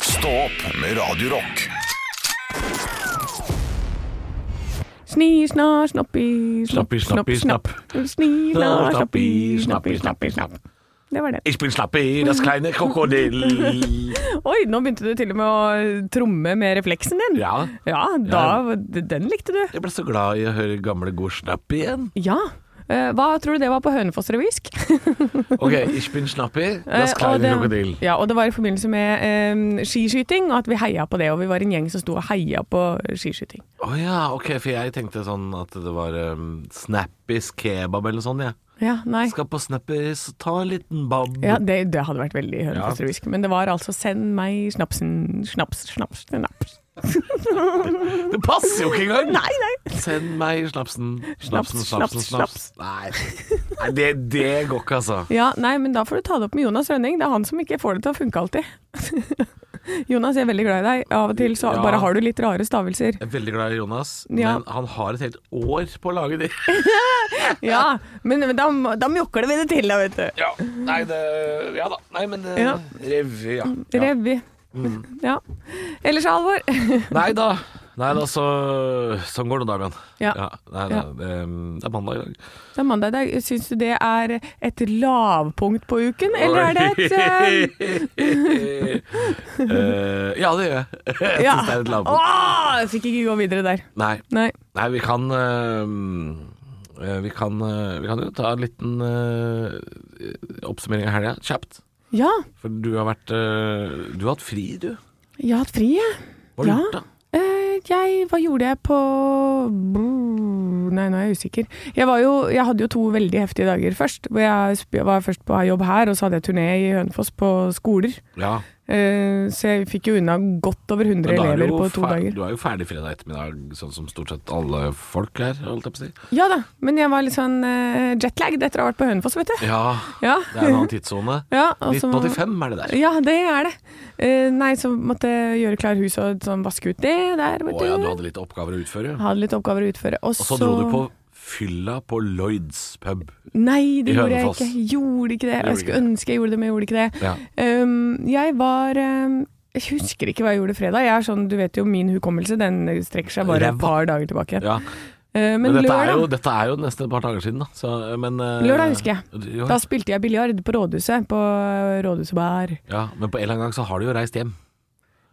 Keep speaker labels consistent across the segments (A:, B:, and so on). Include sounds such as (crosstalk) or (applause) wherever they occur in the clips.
A: Stå opp med Radio Rock.
B: Sni, sna, snappi,
C: Snappi, snappi,
B: Sni,
C: Sna,
B: sna,
C: snappi, snappi,
B: snappi, snappi, snappi, snapp. Det var det.
C: Ich bin Snappi, das kleine Krokodill.
B: Oi, nå begynte du til og med å tromme med refleksen din.
C: Ja.
B: Ja, da, den likte du.
C: Jeg ble så glad i å høre gamle, gode Snappi igjen.
B: Ja. Eh, Hva tror du det var på Hønefoss-revysk?
C: Ok, ich bin Snappi, das
B: Eh, og
C: kleine
B: det-
C: Krokodill.
B: Ja, og det var i forbindelse med eh, skiskyting, og at vi heia på det. Og vi var en gjeng som sto og heia på skiskyting.
C: Å ja, ok, for jeg tenkte sånn at det var um, Snappis kebab eller sånn, jeg.
B: Ja, nei.
C: Skal på Snappis, ta en liten bab.
B: Ja, det, det hadde vært veldig hønefoss-revysk. Men det var altså 'send meg snapsen, snaps, snaps, snaps'.
C: Det passer jo ikke engang!
B: Nei, nei!
C: Send meg snapsen. Snapsen,
B: Snaps,
C: snapsen, snaps.
B: snaps,
C: Nei, Nei det, det går ikke, altså.
B: Ja, nei, men da får du ta det opp med Jonas Rønning. Det er han som ikke får det til å funke alltid. (laughs) Jonas, jeg er veldig glad i deg. Av og til så
C: Ja.
B: bare har du litt rare
C: (laughs)
B: stavelser.
C: Jeg er veldig glad i Jonas,
B: Ja.
C: men han har et helt år på å lage de.
B: Ja, men, men da, må- da mjokker det med det til, da, vet du.
C: Ja, nei, det, ja da. Nei, men eh,
B: Ja.
C: revy, ja. Mm. ja.
B: Revy. (laughs) Ja. Ellers, Alvor.
C: Nei da. Nei da, så Sånn går det nå, Damian.
B: (laughs) Ja.
C: nei, da,
B: Ja.
C: det, mm, det er mandag i dag.
B: Det er mandag i dag. Syns du det er et lavpunkt på uken, eller er det et eh,
C: Eh, Ja, det gjør jeg. (laughs) (laughs) Jeg synes
B: Ja.
C: det er et lavpunkt.
B: Åh, jeg fikk ikke gå videre der.
C: Nei.
B: Nei.
C: Nei, vi kan eh, eh, vi kan, eh, vi kan jo ta en liten eh, oppsummering av helga, kjapt.
B: Ja,
C: For du har vært eh, Du har hatt fri, du.
B: jeg har hatt fri, jeg.
C: Hva har du
B: Ja.
C: gjort, da?
B: Eh, jeg, hva gjorde jeg på Brr, Nei, nå er jeg usikker. Jeg, var jo, jeg hadde jo to veldig heftige dager først. Hvor jeg sp- var først på jobb her, og så hadde jeg turné i Hønefoss på skoler.
C: Ja,
B: Eh, så jeg fikk jo unna godt over 100
C: men da er du
B: elever
C: jo
B: på to
C: fer-
B: dager.
C: Du er jo ferdig fredag ettermiddag, sånn som stort sett alle folk er, holdt jeg på å si.
B: Ja da, men jeg var litt sånn eh, jetlagd etter å ha vært på Hønefoss, vet du.
C: Ja,
B: Ja.
C: det er en annen (laughs) tidssone.
B: (laughs) Ja, og
C: Altså,
B: så-
C: 1985 er det der.
B: Ja, det er det. Eh, nei, så måtte jeg gjøre klar hus og sånn, vaske ut det der, vet
C: Å ja, du hadde litt oppgaver å utføre.
B: Hadde litt oppgaver å utføre. Og,
C: Og så dro du på fylla på Lloyds pub.
B: Nei,
C: I
B: det gjorde jeg
C: Hønefoss.
B: ikke. Jeg Gjorde ikke det.
C: Gjorde
B: Jeg skulle
C: ikke
B: ønske jeg gjorde det, men jeg gjorde ikke det.
C: Ja.
B: Um, jeg var um, Jeg husker ikke hva jeg gjorde fredag. Jeg er sånn, du vet jo, min hukommelse den strekker seg bare
C: Ræva.
B: et par dager tilbake.
C: ja.
B: Uh,
C: (laughs)
B: men
C: Men, dette,
B: lørdag,
C: er jo, dette er jo nesten et par dager siden, da. Så, men, eh,
B: lørdag husker jeg.
C: jo,
B: Da spilte jeg biljard på Rådhuset, på eh, Rådhuset bar.
C: Ja, men på en eller annen gang så har du jo reist hjem.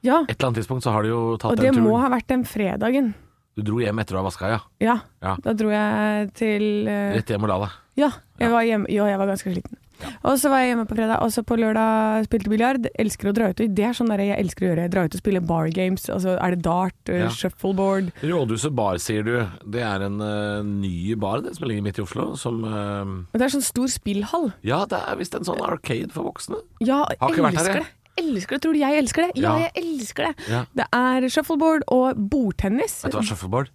B: Ja,
C: Et eller annet tidspunkt så har du jo tatt
B: og det
C: den turen.
B: må ha vært den fredagen.
C: Du dro hjem etter å ha vaska, ja.
B: Ja.
C: Ja.
B: Da dro jeg til uh,
C: Rett hjem og la deg.
B: Ja, jeg var hjemme. Jo, jeg var ganske sliten. Og så var jeg hjemme på fredag, og så på lørdag spilte biljard. Elsker å dra ut. og Det er sånn der jeg elsker å gjøre. Dra ut og spille bar games. Altså, er det dart, eh,
C: Ja.
B: shuffleboard
C: Rådhuset bar, sier du. Det er en eh, ny bar det, som ligger midt i Oslo. Som eh,
B: Men Det er sånn stor spillhall.
C: Ja, det er visst en sånn arcade for voksne.
B: Ja,
C: Har ikke vært der,
B: elsker
C: jeg.
B: det. Elsker det. Tror du jeg elsker det? Ja,
C: Ja.
B: jeg elsker det.
C: Ja.
B: Det er shuffleboard og bordtennis.
C: Vet du hva, shuffleboard?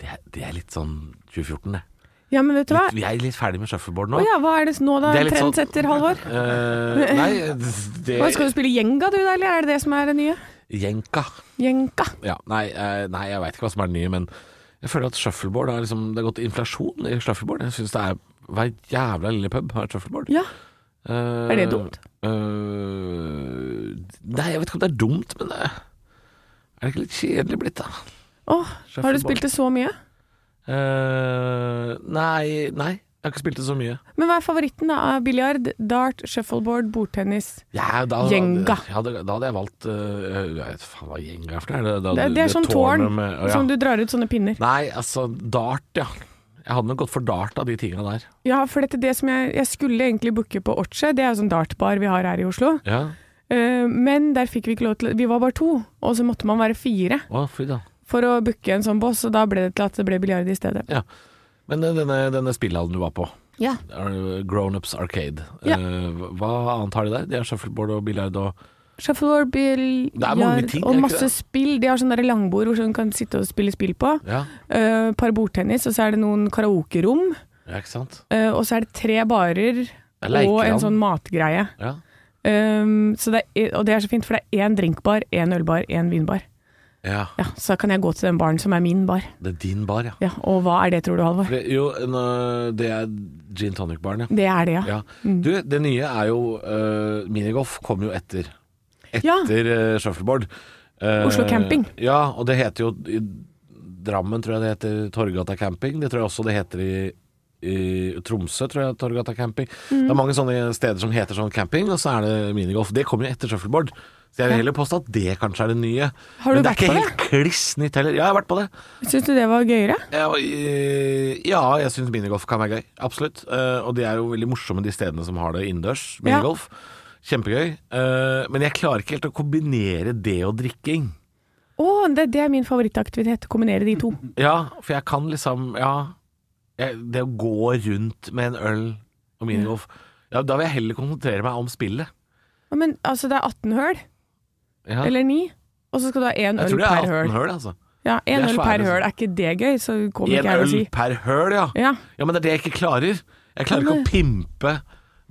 C: Det er, det er litt sånn 2014, det.
B: Ja, men vet du hva?
C: Litt, vi er litt ferdig med shuffleboard nå.
B: Å ja, hva er det nå da?
C: Det er litt sånn-
B: Trendsetter, Halvor?
C: Eh, nei, det
B: Hva, skal du spille jenga du, da, eller er det det som er det nye?
C: Jenka.
B: Jenga.
C: Ja, nei, eh, nei, jeg veit ikke hva som er det nye, men jeg føler at shuffleboard har liksom, Det har gått inflasjon i shuffleboard. Jeg syns det er hver jævla lille pub har et shuffleboard.
B: Ja,
C: Eh,
B: er det dumt?
C: eh, nei, jeg vet ikke om det er dumt, men det er det ikke litt kjedelig blitt, da?
B: Åh, har du
C: Shuffleboard.
B: spilt det så mye?
C: Eh, nei, nei, jeg har ikke spilt det så mye.
B: Men hva er favoritten da? av Biljard, dart, shuffleboard, bordtennis.
C: Ja, da,
B: Jenga.
C: Ja, da, da hadde jeg valdt eh, Jeg vet faen hva gjenga er for noe. er. da-
B: Det, det er sånn tårn
C: tårnet med- ja.
B: som du drar ut sånne pinner.
C: Nei, altså dart, ja. Jeg hadde nok gått for dart av de tinga der.
B: Ja, for dette, det som jeg, jeg skulle egentlig booke på Orche, det er jo sånn dartbar vi har her i Oslo.
C: Ja,
B: Eh, men der fikk vi ikke lov til Vi var bare to, og så måtte man være fire
C: å fy da.
B: for å booke en sånn boss, og da ble det til at det ble biljard i stedet.
C: Ja. Men eh, denne, denne spillhallen du var på,
B: Ja.
C: eh, Grownups Arcade,
B: Ja.
C: eh, hva annet har de der? De har shuffleboard og biljard og
B: Shuffleboard,
C: Det er mange
B: biljard
C: ting, er
B: og
C: det ikke
B: masse
C: det?
B: spill. De har sånne der langbord hvor du kan sitte og spille spill på.
C: Ja,
B: Eh, par bordtennis, og så er det noen karaokerom.
C: ja ikke sant?
B: Eh, og så er det tre barer
C: er
B: og
C: lekeland.
B: en sånn matgreie.
C: Ja.
B: Um, så det er, og det er så fint, for det er én drinkbar, én ølbar, én vinbar.
C: ja.
B: Ja, Så kan jeg gå til den baren som er min bar.
C: Det er din bar, ja.
B: Ja, Og hva er det, tror du, Halvor?
C: Det, jo, en, eh, det er gin tonic-baren, ja.
B: Det er det, ja.
C: ja.
B: Mm.
C: Du, det nye er jo eh, Minigolf kom jo etter.
B: Ja.
C: etter eh, shuffleboard. Eh,
B: Oslo Camping.
C: Ja, og det heter jo i Drammen tror jeg det heter Torgata Camping. Det tror jeg også det heter i, i Tromsø, tror jeg Torgata Camping.
B: Mm.
C: Det er mange sånne steder som heter sånn camping, og så er det minigolf. Det kommer jo etter shuffleboard. Så jeg vil heller påstå at det kanskje er det nye.
B: Har du
C: Men det
B: vært
C: er ikke
B: på
C: helt kliss nytt heller. Ja, jeg har vært på det.
B: Syns du det var gøyere?
C: Ja, og, eh, ja jeg syns minigolf kan være gøy. Absolutt. Eh, og det er jo veldig morsomme de stedene som har det innendørs. Minigolf. Kjempegøy. Eh, men jeg klarer ikke helt å kombinere det og drikking.
B: Å, det, det er min favorittaktivitet. Kombinere de
C: (laughs)
B: to.
C: Ja, for jeg kan liksom Ja. Jeg, det å gå rundt med en øl og minigolf ja, Da vil jeg heller konsentrere meg om spillet.
B: Ja, Men altså, det er 18 høl,
C: Ja.
B: eller 9. Og så skal du ha én
C: jeg
B: øl
C: tror det er
B: per
C: 18
B: høl.
C: høl, altså.
B: Ja, én
C: Det er
B: øl
C: svære,
B: per høl. Er ikke det gøy? Så kommer
C: En
B: ikke jeg
C: øl
B: og sier
C: per høl, ja.
B: Ja.
C: Ja, men det er det jeg ikke klarer. Jeg klarer ikke å pimpe,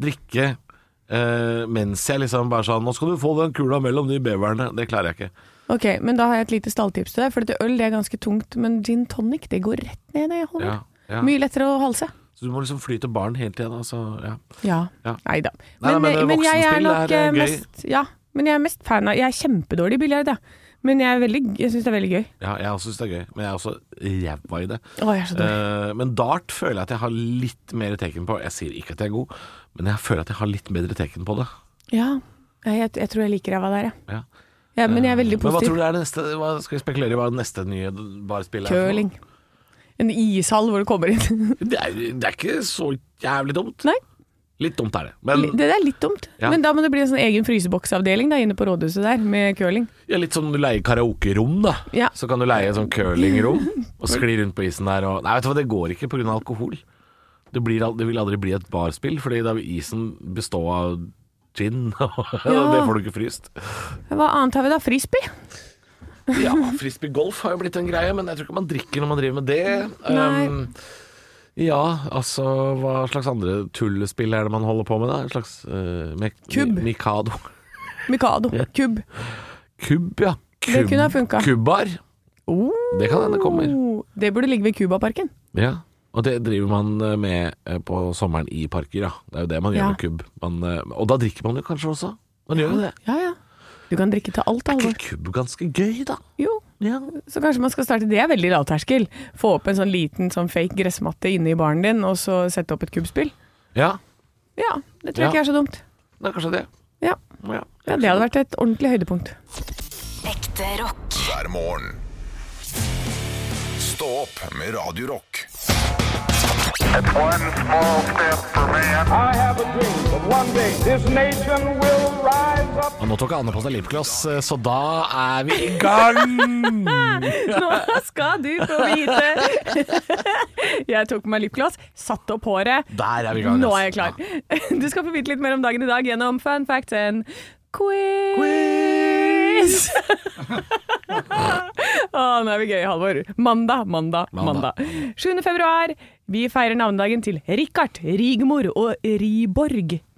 C: drikke eh, mens jeg liksom bare sånn Nå skal du få den kula mellom de beverne. Det klarer jeg ikke.
B: Ok, men da har jeg et lite stalltips til deg. For dette øl det er ganske tungt, men gin tonic det går rett ned i hånden.
C: Ja, ja.
B: Mye lettere å halse.
C: Så du må liksom fly til baren hele tiden. Altså, ja.
B: Ja.
C: Ja.
B: Nei da.
C: Nei, nei, men det er
B: jeg er
C: voksenspill,
B: nok
C: det er,
B: eh,
C: eh, gøy.
B: mest Ja, men jeg er mest fan av Jeg er kjempedårlig i biljard, ja. Men jeg, er veldig- jeg syns det er veldig gøy.
C: ja jeg også syns det er gøy, men jeg er også ræva i det.
B: Å, jeg er så dårlig.
C: Eh, men dart føler jeg at jeg har litt mer teken på. Jeg sier ikke at jeg er god, men jeg føler at jeg har litt bedre teken på det.
B: Eh. Ja. Nei, Jeg, jeg tror jeg liker ræva der, jeg.
C: Ja.
B: Ja, men jeg er veldig
C: Eh, Men hva tror
B: positiv.
C: du er det neste hva, Skal vi spekulere i hva det neste nye barspill er? for noe?
B: Curling. En ishall hvor det kommer
C: (laughs)
B: inn.
C: Det er, det er ikke så jævlig dumt.
B: Nei.
C: Litt dumt er det. Men
B: Det er litt dumt.
C: Ja.
B: Men da må det bli en sånn egen fryseboksavdeling da, inne på rådhuset der, med curling.
C: Ja, litt sånn du leier karaokerom, da.
B: Ja.
C: Så kan du leie sånn curlingrom og skli rundt på isen der og Nei, vet du hva, det går ikke pga. alkohol. Det, blir, al- det vil aldri bli et barspill, fordi da vil isen bestå av gin, (laughs) og
B: Ja.
C: det får du ikke fryst.
B: Hva annet har vi da? Frisbee?
C: Ja, frisbee golf har jo blitt en greie, men jeg tror ikke man drikker når man driver med det.
B: Nei.
C: Um, ja, altså hva slags andre tullespill er det man holder på med, da? En slags eh, mek-
B: Kubb.
C: Mikado.
B: Mikado. Kubb.
C: Kubb, ja.
B: Det kunne ha funka.
C: Kubbar.
B: Oh,
C: Det kan hende kommer.
B: Det burde ligge ved Cubaparken.
C: Ja, og det driver man eh, med eh, på sommeren i parker, ja. Det er jo det man gjør
B: Ja.
C: med kubb. Man, eh, og da drikker man jo kanskje også. Man gjør jo det.
B: Ja, ja. Du kan drikke til alt,
C: Er
B: Halvor.
C: ikke kubb ganske gøy, da?
B: Jo,
C: Ja.
B: så kanskje man skal starte Det er veldig lavterskel. Få opp en sånn liten sånn fake gressmatte inne i baren din, og så sette opp et kubbspill.
C: ja.
B: Ja, det tror jeg
C: Ja.
B: ikke er så dumt.
C: Det er kanskje det.
B: Ja.
C: Ja.
B: ja, det hadde vært et ordentlig høydepunkt.
D: Ekte rock.
A: hver morgen. Stå opp med Radio Rock.
E: It's one small step for man.
F: I have a dream that one day this nation will rise up.
C: Og nå tok Anne på seg lipgloss, eh, så da er vi i gang!
B: Nå skal du få vite! (laughs) Jeg tok på meg lipgloss, satte opp håret.
C: Der er vi i gang.
B: Nå
C: ass.
B: er jeg klar. (laughs) Du skal få vite litt mer om dagen i dag gjennom fun facts and quiz. (laughs) Å, nå er vi gøy, Halvor. Mandag, mandag,
C: Mandag.
B: mandag. 7. februar. Vi feirer navnedagen til Rikard, Rigmor og Riborg.
C: Ja. (laughs)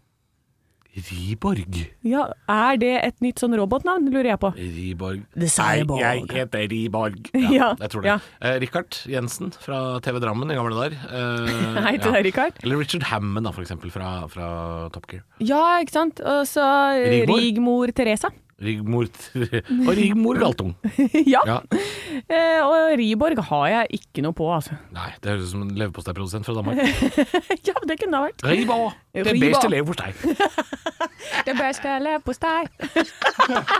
C: Riborg.
B: Ja, Er det et nytt sånn robotnavn, lurer jeg på?
C: Riborg.
B: The Cyborg.
C: Nei, jeg heter
B: (laughs)
C: Riborg. Ja,
B: Ja,
C: jeg tror det.
B: ja.
C: Eh, Richard Jensen fra TV Drammen i gamle dager.
B: (laughs)
C: Eh,
B: Hei til
C: ja.
B: deg, Rikard.
C: Eller Richard Hammond, da, for eksempel, fra, fra Top Gear.
B: Ja, ikke sant. Og så eh,
C: Rigmor?
B: Rigmor Teresa.
C: Rigmor (laughs) Og Rigmor Galtung.
B: (laughs) ja.
C: Ja.
B: Eh, og Riborg har jeg ikke noe på, altså.
C: Nei, det høres ut som en leverposteiprodusent fra Danmark.
B: (laughs) ja, det kunne det ha vært.
C: Riba! Det
B: Riba.
C: beste leverpostei.
B: Det beste leverpostei. (laughs)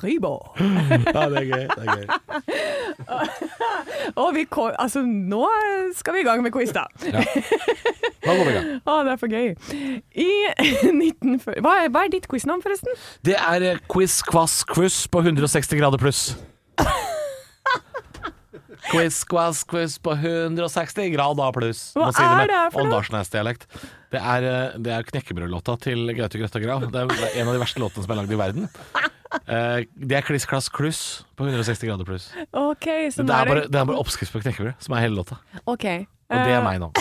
B: Rybo.
C: (laughs) Ja, det er gøy. Det er gøy.
B: (laughs) Og vi kom, altså, nå skal vi i gang med quiz, da.
C: Da går vi i gang.
B: Å, det er for gøy. I (laughs) 1940 hva, er- hva er ditt quiznavn, forresten?
C: Det er eh, quiz, kvass, quiz på 160 grader pluss. Quiz, kvass, quiz på 160 grader pluss.
B: Hva
C: Må si
B: er
C: med
B: det for noe?
C: Åndalsnes-dialekt. Det er, eh, det er knekkebrødlåta til Gaute Grøtta Grav. Det er en av de verste låtene som er lagd i verden. Eh, Det er kliss, klass, kluss på 160 grader pluss.
B: OK, så
C: Det
B: nå
C: er bare, det er bare oppskrift på knekkebrød, som er hele låta.
B: OK.
C: Og
B: Eh.
C: det er meg nå.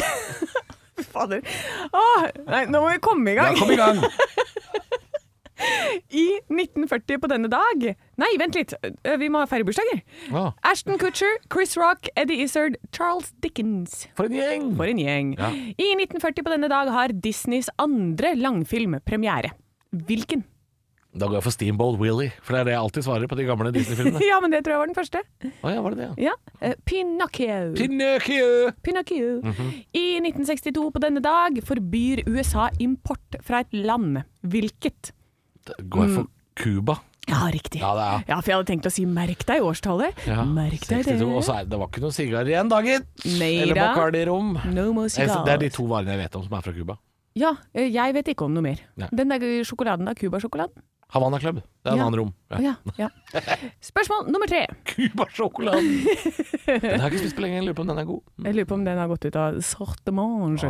B: Fader. Å, nei, nå må vi komme i
C: Ja,
B: gang.
C: kom i gang!
B: (laughs) I 1940 på denne dag Nei, vent litt. Eh, Vi må ha færre bursdager.
C: Å,
B: Ashton Kutcher, Chris Rock, Eddie Izzard, Charles Dickens.
C: for en gjeng!
B: For en gjeng.
C: Ja.
B: I 1940 på denne dag har Disneys andre langfilm premiere. Hvilken? (laughs)
C: Da går jeg for Steamboat Willie, for det er det jeg alltid svarer på de gamle Disney-filmene.
B: Ja, men det tror jeg var den første.
C: Å ja, var det det? ja?
B: Ja. Eh, Pinocchio.
C: Pinocchio!
B: Pinocchio.
C: Mhm.
B: I 1962 på denne dag forbyr USA import fra et land. Hvilket?
C: Da Går
B: Mm.
C: jeg for Cuba?
B: Ja, riktig.
C: Ja, det er
B: Ja, for jeg hadde tenkt å si merk deg i årstallet. merk deg det.
C: 62, Og så er det, det var ikke noen sigarer igjen, da, gitt.
B: Nei
C: Eller
B: da.
C: Bacardi Rom.
B: No more
C: Jeg- Det er de
B: cigars.
C: to varene jeg vet om som er fra Cuba.
B: Ja, eh, jeg vet ikke om noe mer.
C: Nei.
B: Den der sjokoladen da, Cuba-sjokoladen.
C: Havana Club. Det er en
B: Ja.
C: annen rom.
B: Å Ja, ja. Spørsmål nummer tre. (laughs)
C: Cuba-sjokoladen! Den har jeg ikke spist på lenge. Jeg lurer på om den er god.
B: Jeg lurer på om den har gått ut av sortemange.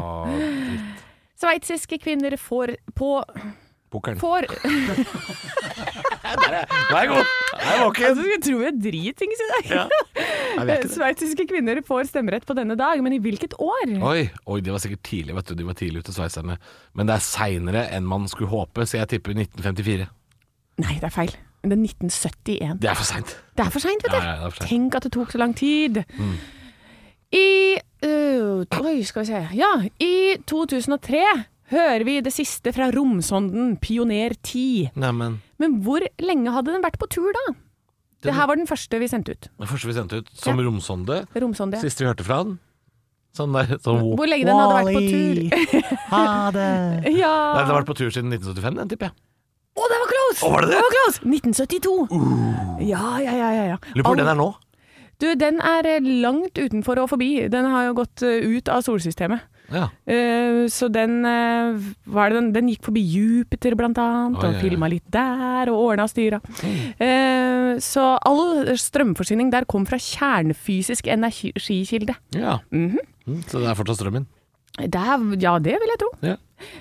B: Sveitsiske kvinner får på
C: Pokeren. (laughs)
B: får,
C: Den er god! Den er våken!
B: Jeg tror vi er dritings i dag.
C: Jeg vet ikke det.
B: Sveitsiske kvinner får stemmerett på denne dag, men i hvilket år?
C: Oi, oi, de var sikkert tidlig, vet du. De var tidlig ute, sveitserne. Men det er seinere enn man skulle håpe, så jeg tipper 1954.
B: Nei, det er feil. Det er 1971.
C: Det er for seint.
B: Det er for seint, vet du.
C: Ja, ja, det er for sent.
B: Tenk at det tok så lang tid.
C: Mm.
B: I øh, Oi, skal vi se. Ja, i 2003 hører vi det siste fra romsonden Pioner 10.
C: Neimen
B: Men hvor lenge hadde den vært på tur da? Det her var den første vi sendte ut.
C: Den første vi sendte ut som romsonde.
B: Romsonde.
C: Siste vi hørte fra den. Sånn der, sånn,
B: Hvor lenge den hadde vært på tur.
C: Ha det! Nei,
B: (laughs) ja.
C: Den har vært på tur siden 1975, den tipper jeg.
B: Å, det var close!
C: Å, var det det?
B: var close! 1972. Ja, ja, ja. ja, ja.
C: Lurer på hvor den er nå.
B: Du, den er eh, langt utenfor og forbi. Den har jo gått eh, ut av solsystemet.
C: Ja.
B: Eh, så den, eh, hva er det, den Den gikk forbi Jupiter, blant annet,
C: Oi, oi,
B: og
C: oi.
B: filma litt der, og ordna og styra. Eh, så all strømforsyning der kom fra kjernefysisk energikilde.
C: ja.
B: Mhm.
C: Mm, Så det er fortsatt strømmen.
B: Det er- ja, det vil jeg tro.
C: Ja.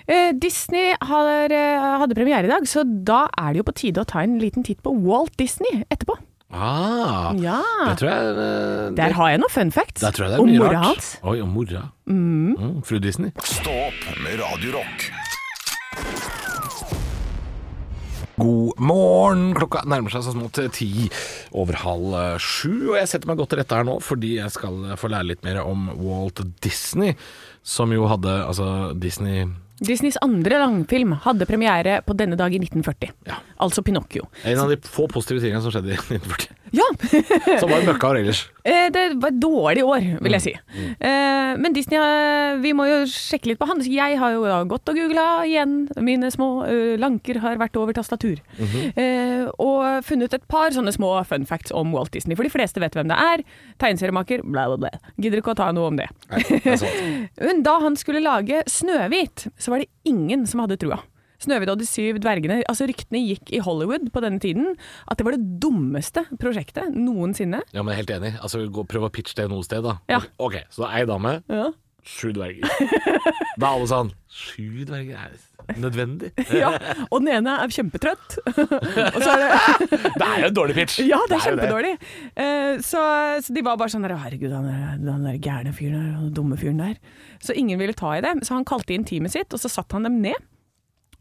B: Eh, Disney har, eh, hadde premiere i dag, så da er det jo på tide å ta en liten titt på Walt Disney etterpå.
C: Ah,
B: Ja.
C: Det tror jeg eh, det,
B: Der har jeg noen fun facts
C: der tror jeg det er
B: om
C: mye
B: mora
C: rart.
B: hans. Mhm.
C: Oi, om mora. Mm, Fru Disney.
A: Stå opp med Radio Rock.
C: God morgen! Klokka nærmer seg så smått ti over halv eh, sju, og jeg setter meg godt til rette her nå fordi jeg skal eh, få lære litt mer om Walt Disney, som jo hadde altså Disney
B: Disneys andre langfilm hadde premiere på denne dag i 1940.
C: Ja.
B: Altså Pinocchio.
C: En av de få positive tingene som skjedde i (laughs) 1940.
B: Ja! (laughs)
C: Som var møkka år ellers.
B: eh, det var et dårlig år, vil jeg si. Eh, Men Disney, eh, vi må jo sjekke litt på han. Så Jeg har jo da gått og googla igjen. Mine små eh, lanker har vært over tastatur. Eh, Og funnet et par sånne små fun facts om Walt Disney. For de fleste vet hvem det er. Tegneseriemaker, bla, bla, bla. Gidder ikke å ta noe om det.
C: Nei, det er sant.
B: Men da han skulle lage Snøhvit, så var det ingen som hadde trua. Snøhvit og de syv dvergene, altså ryktene gikk i Hollywood på denne tiden at det var det dummeste prosjektet noensinne.
C: Ja, men jeg er helt enig. Altså, gå, Prøv å pitche det noe sted, da.
B: Ja.
C: Ok, så det er ei dame,
B: Ja.
C: sju dverger. Da er alle sånn Sju dverger er det nødvendig?
B: (laughs) ja. Og den ene er kjempetrøtt. (laughs) og så er (laughs) det
C: Det er jo en dårlig pitch!
B: Ja, det er
C: jo
B: kjempedårlig. Eh, Så, så de var bare sånn der, Herregud, han der, den der gærne fyren der, den dumme fyren der. Så ingen ville ta i det. Så han kalte inn teamet sitt, og så satte han dem ned.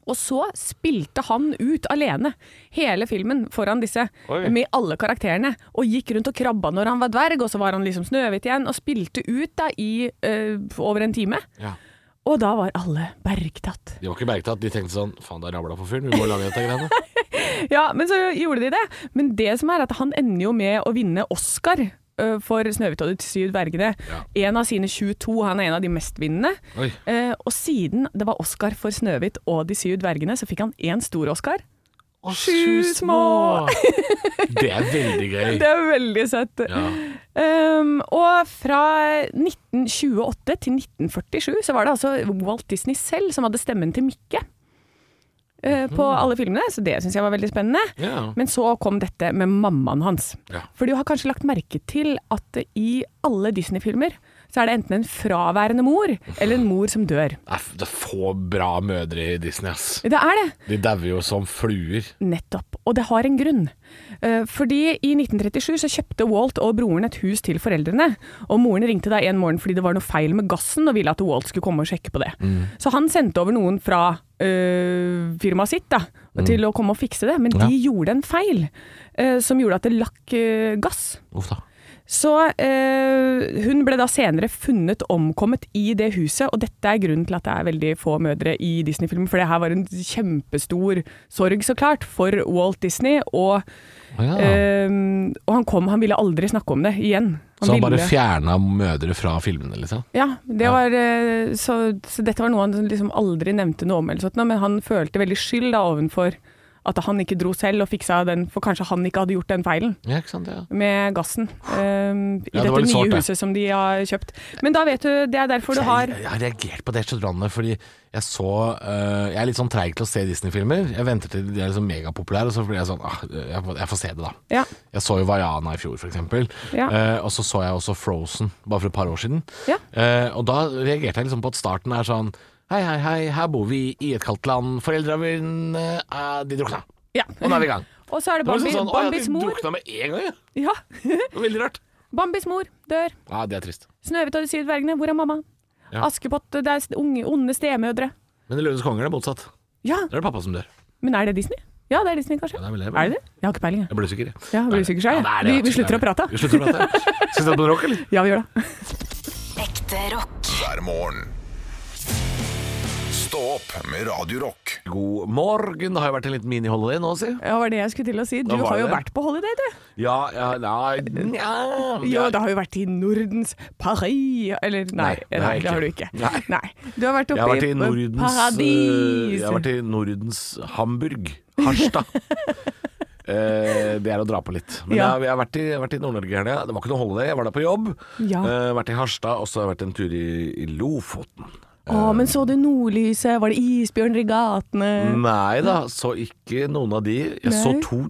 B: Og så spilte han ut alene hele filmen foran disse,
C: Oi.
B: med alle karakterene. Og gikk rundt og krabba når han var dverg, og så var han liksom Snøhvit igjen. Og spilte ut da i eh, over en time.
C: Ja.
B: Og da var alle bergtatt.
C: De var ikke merket at de tenkte sånn Faen, det rabla på fyren, vi må lage dette greiene.
B: Ja, men så gjorde de det. Men det som er at han ender jo med å vinne Oscar ø, for 'Snøhvit og de syv dvergene'. En av sine 22. Han er en av de mestvinnende.
C: Oi.
B: Eh, og siden det var Oscar for 'Snøhvit og de syv dvergene', så fikk han én stor Oscar.
C: Og
B: sju små.
C: Det er veldig gøy.
B: Det er veldig søtt.
C: Ja.
B: Ehm, og fra 1928 til 1947 så var det altså Walt Disney selv som hadde stemmen til Mikke. eh, På alle filmene, så det syns jeg var veldig spennende.
C: Ja.
B: Men så kom dette med mammaen hans.
C: Ja.
B: For du har kanskje lagt merke til at i alle Disney-filmer så er det enten en fraværende mor eller en mor som dør.
C: Det er f- det er få bra mødre i Disney, ass.
B: Det er det.
C: De dauer jo som fluer.
B: Nettopp. Og det har en grunn. Eh, Fordi i 1937 så kjøpte Walt og broren et hus til foreldrene. Og moren ringte da en morgen fordi det var noe feil med gassen og ville at Walt skulle komme og sjekke på det. Så han sendte over noen fra øh, firmaet sitt da, til å komme og fikse det. Men de gjorde en feil eh, som gjorde at det lakk øh, gass.
C: Uff da.
B: Så eh, hun ble da senere funnet omkommet i det huset, og dette er grunnen til at det er veldig få mødre i Disney-filmer, for det her var en kjempestor sorg, så klart, for Walt Disney, og,
C: Å ja.
B: eh, og han kom, han ville aldri snakke om det igjen.
C: så han bare
B: ville-
C: fjerna mødre fra filmene, liksom?
B: ja, det var, eh, så, så dette var noe han liksom aldri nevnte noe om, eller sånt, noe, men han følte veldig skyld da ovenfor at han ikke dro selv og fiksa den, for kanskje han ikke hadde gjort den feilen
C: Ja, ikke sant, ja.
B: med gassen ehm, i
C: Ja, det var
B: dette nye
C: litt sårt, det.
B: huset som de har kjøpt. Men da vet du, det er derfor du har
C: Jeg, jeg har reagert på det restaurantet fordi jeg så eh, Jeg er litt sånn treig til å se Disney-filmer. Jeg venter til de er liksom megapopulære, og så blir jeg sånn ah, jeg, får- jeg får se det, da.
B: Ja.
C: Jeg så jo Vaiana i fjor, for eksempel.
B: Ja.
C: Eh, og så så jeg også Frozen, bare for et par år siden.
B: Ja.
C: Eh, og da reagerte jeg liksom på at starten er sånn Hei, hei, hei, her bor vi i et kaldt land. Foreldra mine eh, De drukna.
B: ja.
C: Og nå er vi i gang.
B: Og så er det
C: Det var
B: (laughs) Bambi,
C: liksom sånn, «Å ja,
B: Bambis
C: de
B: mor.
C: drukna med en gang, ja.
B: Ja.
C: Det var Veldig rart.
B: Bambis mor dør.
C: Ja, det er trist.
B: Snøhvit og de syv dvergene, hvor er mamma?
C: Ja.
B: Askepott, det er unge, onde stemødre.
C: Men i Løvenes konger er det motsatt.
B: Ja,
C: Da er det pappa som dør.
B: men er det Disney? Ja, det er Disney, kanskje.
C: Ja, det er vel det, men-
B: er det det? Jeg har ikke peiling, jeg.
C: Jeg ble usikker. jeg.
B: Ja, ble
C: Nei,
B: usikker selv, jeg.
C: det er det,
B: Vi- vi
C: absolutt.
B: slutter å prate.
C: Vi slutter å
B: (laughs)
C: prate. Skal vi sette på en rock, eller?
B: Ja, vi gjør det.
D: Ekte rock.
A: hver morgen. Stå opp med Radio Rock.
C: God morgen. Det har jo vært en liten mini-holiday nå, si.
B: Ja, var det jeg skulle til å si. Du
C: Da var
B: har jo
C: det.
B: vært på holiday, du.
C: Ja, ja, nei, nja,
B: Jo, det har jo vært i Nordens Paris Eller nei,
C: Nei,
B: nei,
C: det har jeg
B: det
C: ikke.
B: har du ikke.
C: Nei.
B: Du har vært
C: Jeg har vært
B: oppe
C: i Nordens eh,
B: paradis.
C: Jeg har vært i Nordens Hamburg. Harstad.
B: (laughs)
C: Eh, det er å dra på litt. Men
B: Ja.
C: jeg, jeg har vært i, jeg har vært i Nord-Norge i helga. Det var ikke noe holiday, jeg var der på jobb.
B: Ja.
C: Eh, vært i Harstad, og så har jeg vært en tur i, i Lofoten.
B: Å,
C: Eh,
B: men så du nordlyset? Var det isbjørner i gatene?
C: Nei da, så ikke noen av de. Jeg så
B: Nei.
C: to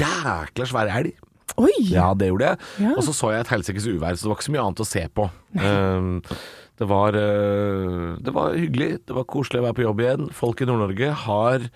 C: jækla svære elg.
B: Oi!
C: Ja, det gjorde jeg.
B: Ja.
C: Og så så jeg et helsikes uvær, så det var ikke så mye annet å se på. Um, det, var, eh, det var hyggelig, det var koselig å være på jobb igjen. Folk i Nord-Norge har,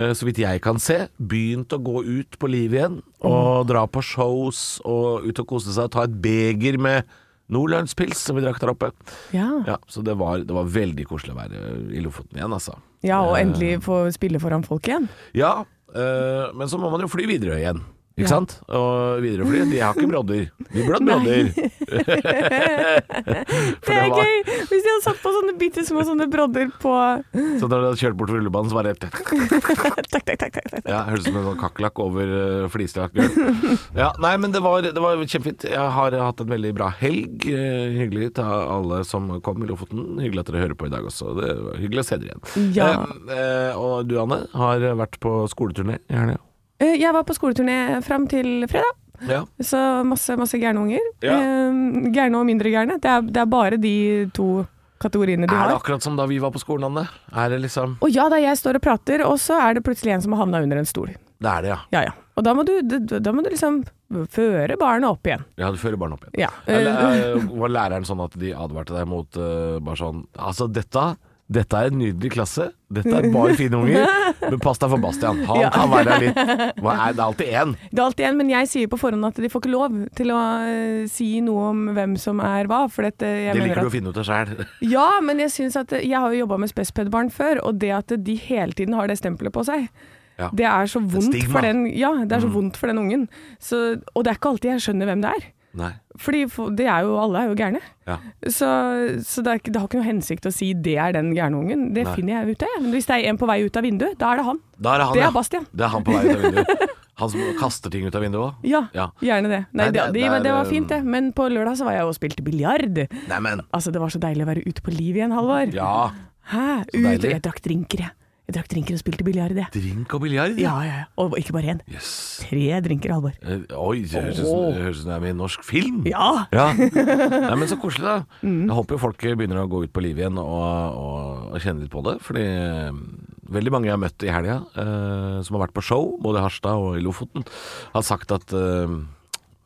C: eh, så vidt jeg kan se, begynt å gå ut på liv igjen. Og
B: Mm.
C: dra på shows og ut og kose seg. Ta et beger med Nordlandspils som vi drakk der oppe.
B: Ja.
C: Ja, så det var, det var veldig koselig å være i Lofoten igjen, altså.
B: Ja, og endelig få spille foran folk igjen.
C: Ja, eh, men så må man jo fly videre igjen. Ikke
B: Ja.
C: sant? Og Widerøe-fly, de har ikke brodder. De burde hatt
B: Nei.
C: brodder.
B: (laughs)
C: (laughs) For
B: Det er
C: var-
B: gøy! Hvis de hadde satt på sånne bitte små sånne brodder på
C: (laughs) Så sånn når de hadde kjørt bort til rullebanen, så var det
B: Takk, takk, takk. takk, takk.
C: ja, Hørtes ut som en sånn kakerlakk over uh, flislagt
B: (laughs)
C: gulv. Ja, nei, men det var, det var kjempefint. Jeg har hatt en veldig bra helg. Eh, hyggelig til alle som kom i Lofoten. Hyggelig at dere hører på i dag også. Det var hyggelig å se dere igjen.
B: Ja.
C: Eh, eh, og du, Anne, har vært på skoleturné i helga.
B: Eh, Jeg var på skoleturné fram til fredag.
C: Ja.
B: Så masse, masse gærne unger.
C: Ja.
B: Eh, Gærne og mindre gærne. Det, er- det er bare de to kategoriene de
C: Er
B: har.
C: det akkurat som da vi var på skolen, Anne? Er det liksom
B: Og ja da, jeg står og prater, og så er det plutselig en som har havna under en stol.
C: Det er det, ja.
B: Ja ja. Og da må du, da da må du liksom føre barnet opp igjen.
C: Ja, du fører barna opp igjen.
B: Ja.
C: Eller, eh, var læreren sånn at de advarte deg mot eh, bare sånn Altså, dette, dette er en nydelig klasse. Dette er bare fine unger. Men pass deg for Bastian. Han
B: Ja.
C: kan være litt Hva er det er alltid én?
B: Det er alt igjen, men jeg sier på forhånd at de får ikke lov til å eh, si noe om hvem som er hva. For dette, jeg
C: Det
B: mener
C: liker du å
B: at,
C: finne ut av sjæl.
B: Ja, men jeg synes at eh, Jeg har jo jobba med spesped-barn før, og det at de hele tiden har det stempelet på seg,
C: Ja.
B: det er så vondt
C: stigma. Mm.
B: for den, ja, det er så vondt for den ungen. Så, og det er ikke alltid jeg skjønner hvem det er.
C: Nei.
B: Fordi for, det er jo, alle er jo gærne.
C: Ja.
B: Så, så det, er, ikke- det har ikke noe hensikt å si 'det er den gærne ungen'. Det
C: Nei.
B: finner jeg ut av. jeg. Men hvis det er en på vei ut av vinduet, da er det han.
C: Da er det han,
B: Det er
C: ja.
B: Bastian.
C: Det er han på vei ut av vinduet. Han som kaster ting ut av vinduet òg.
B: Ja,
C: Ja.
B: gjerne det. Nei,
C: Nei,
B: det,
C: det-
B: det,
C: det er,
B: det var
C: eh,
B: fint, det. Men på lørdag så var jeg og spilte biljard.
C: Neimen.
B: Altså, det var så deilig å være ute på liv igjen, Halvor.
C: Ja.
B: Hæ? Ut,
C: deilig.
B: og jeg drakk drinker, jeg. Jeg drakk drinker og spilte biljard, jeg.
C: Drink og biljard.
B: Ja, ja, ja. Og ikke bare én.
C: Yes.
B: Tre drinker, Halvor.
C: Eh, Oi, det høres ut som- det høres ut som det er med i en norsk film.
B: Ja!
C: Ja. Nei, men så koselig, da.
B: Mm.
C: Jeg håper jo folk begynner å gå ut på livet igjen og, og, og kjenne litt på det. Fordi eh, veldig mange jeg har møtt i helga, eh, som har vært på show, både i Harstad og i Lofoten, har sagt at eh,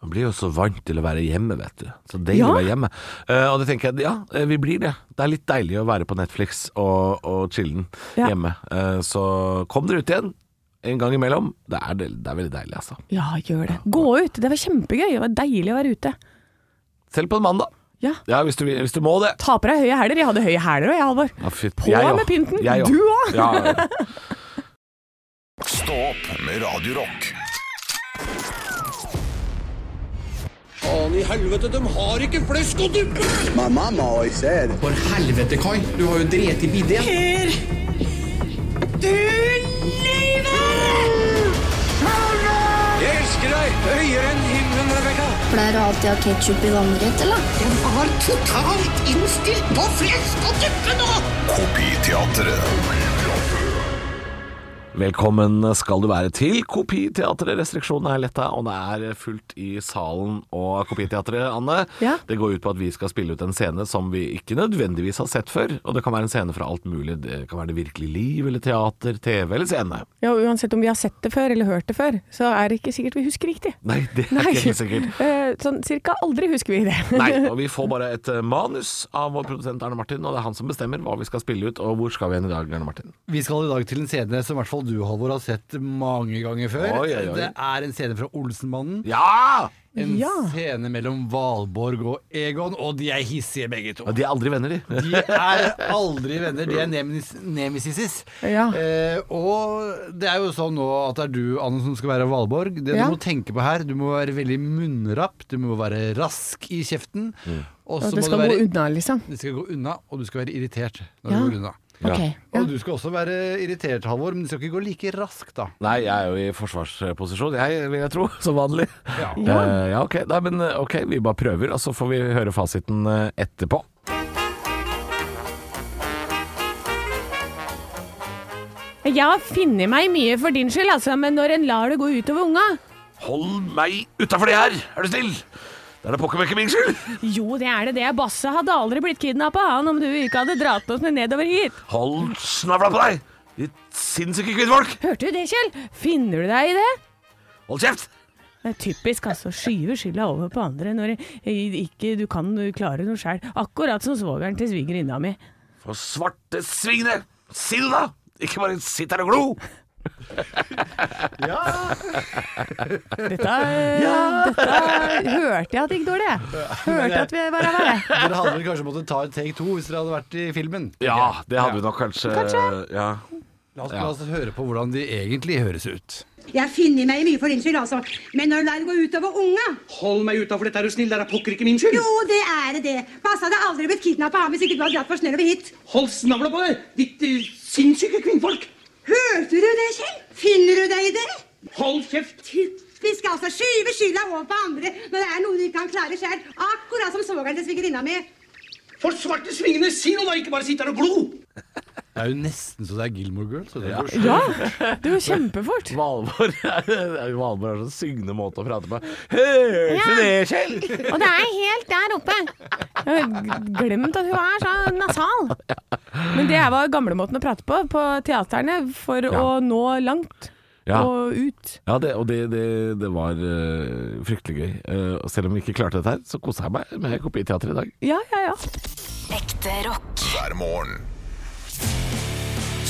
C: man blir jo så vant til å være hjemme, vet du. Så deilig
B: Ja.
C: å være hjemme. Eh, og det tenker jeg, ja, eh, vi blir det. Det er litt deilig å være på Netflix og, og chille'n
B: Ja.
C: hjemme. Eh, så kom dere ut igjen en gang imellom. Det er, del- det er veldig deilig, altså.
B: Ja, gjør det. Gå ut! Det var kjempegøy. Det var deilig å være ute.
C: Selv på en mandag.
B: Ja.
C: Ja, hvis du, vil- hvis du må det.
B: Ta på deg høye hæler. Jeg hadde høye hæler òg, jeg, Halvor.
C: Ja, fy-
B: På
C: jeg også.
B: med pynten!
C: Jeg
B: Du òg!
C: Ja, ja, ja.
A: Stå opp med Radio Rock.
C: Og
G: faen i helvete, de har ikke flesk å duppe!
H: My mom always said,
G: For helvete, Kai, du har jo drept i bidden. Jeg elsker deg høyere enn himmelen, Rebekka.
I: Pleier du alltid å ha ketsjup i vannrett, eller?
J: Jeg var totalt innstilt på flesk og duppe nå!
A: Kopiteatret.
C: Velkommen skal du være til Kopiteatret. Restriksjonene er letta, og det er fullt i salen og Kopiteatret, Anne.
B: Ja.
C: Det går ut på at vi skal spille ut en scene som vi ikke nødvendigvis har sett før. Og det kan være en scene fra alt mulig. Det kan være det virkelige liv, eller teater, TV eller scene.
B: Ja, og uansett om vi har sett det før eller hørt det før, så er det ikke sikkert vi husker riktig.
C: Nei, det er ikke helt sikkert.
B: Eh, Sånn cirka aldri husker vi det.
C: Nei,
B: (laughs)
C: og vi får bare et eh, manus av vår produsent Arne Martin, og det er han som bestemmer hva vi skal spille ut, og hvor skal vi hen i dag, Arne Martin?
K: Vi skal i dag til en scene som i hvert fall du, Halvor, har sett mange ganger før.
C: Oi, oi, oi.
K: Det er en scene fra Olsenmannen.
C: Ja!
K: En
B: Ja.
K: scene mellom Valborg og Egon, og de er hissige begge to.
C: Og de er aldri venner, de.
K: De er aldri venner, de er nemis nemisisis.
B: Ja.
K: Eh, og det er jo sånn nå at det er du, Anne, som skal være Valborg. Det
B: Ja.
K: du må tenke på her, du må være veldig munnrapp, du må være rask i kjeften.
C: Mm.
K: Og
B: At
K: så
B: det
K: må du
B: skal gå
K: være
B: unna, liksom.
K: Det skal gå unna, og du skal være irritert når
B: Ja.
K: du går unna.
B: Ok.
K: Og du skal også være irritert, Halvor, men du skal ikke gå like raskt, da.
C: Nei, jeg er jo i forsvarsposisjon, jeg, vil jeg tro. (laughs) Som vanlig. Ja, ja ok. Nei, men, eh, ok. Vi bare prøver, og så får vi høre fasiten eh, etterpå.
B: Jeg har funnet meg mye for din skyld, altså, men når en lar det gå utover unga
C: Hold meg utafor det her, er du snill! Det er da pokker meg ikke min skyld!
B: Jo, det er det, det er Basse. Hadde aldri blitt kidnappa, han, om du ikke hadde dratt oss med nedover hit.
C: Hold snavla på deg, ditt sinnssyke kvinnfolk!
B: Hørte du det, Kjell? Finner du deg i det?
C: Hold kjeft!
B: Det er typisk, altså. Skyve skylda over på andre når eh, ikke du kan klare noe sjøl. Akkurat som svogeren til svigerinna mi.
C: For svarte svingene! Si det, da! Ikke bare sitt her og glo!
B: Dette, (laughs) dette hørte jeg at gikk dårlig. Hørte at vi var av veie.
K: Dere hadde vel kanskje måttet ta et take to hvis dere hadde vært i filmen.
C: Ja, det hadde vi nok kanskje. Ja.
K: La oss, la oss høre på hvordan de egentlig høres ut.
J: Jeg finner meg mye for din skyld, altså. Men når du lar det gå utover unga
G: Hold meg utafor dette, er du snill, det er pokker ikke min skyld.
J: Jo, det er det, det. Passa hadde aldri blitt kidnappa av hvis ikke du hadde dratt for snørr over hit.
G: Hold snavla på deg, ditt eh, sinnssyke kvinnfolk.
J: Hørte du det, Kjell? Finner du deg i det?
G: Hold kjeft.
J: Typisk, altså. Skyve skylda over på andre når det er noe du ikke kan klare sjøl. Akkurat som svogeren til svigerinna mi.
G: For svarte svingene, si noe da, ikke bare sitt her og glo.
K: Det er jo nesten så det er Gilmore Girls. så det er jo sjukt.
B: Ja, det var kjempefort.
C: Valborg (laughs) Valborg har sånn syngende måte å prate på. Hørte du det, Kjell?
B: Og det er helt der oppe. Jeg har glemt at hun er så nasal. Men det var gamlemåten å prate på på teaterne for å nå langt
C: Ja.
B: og ut.
C: Ja, det, og det, det, det var eh, fryktelig gøy. Eh, og selv om vi ikke klarte dette her, så kosa jeg meg med kopiteater i dag.
B: Ja, ja, ja.
D: Ekte rock.
A: hver morgen.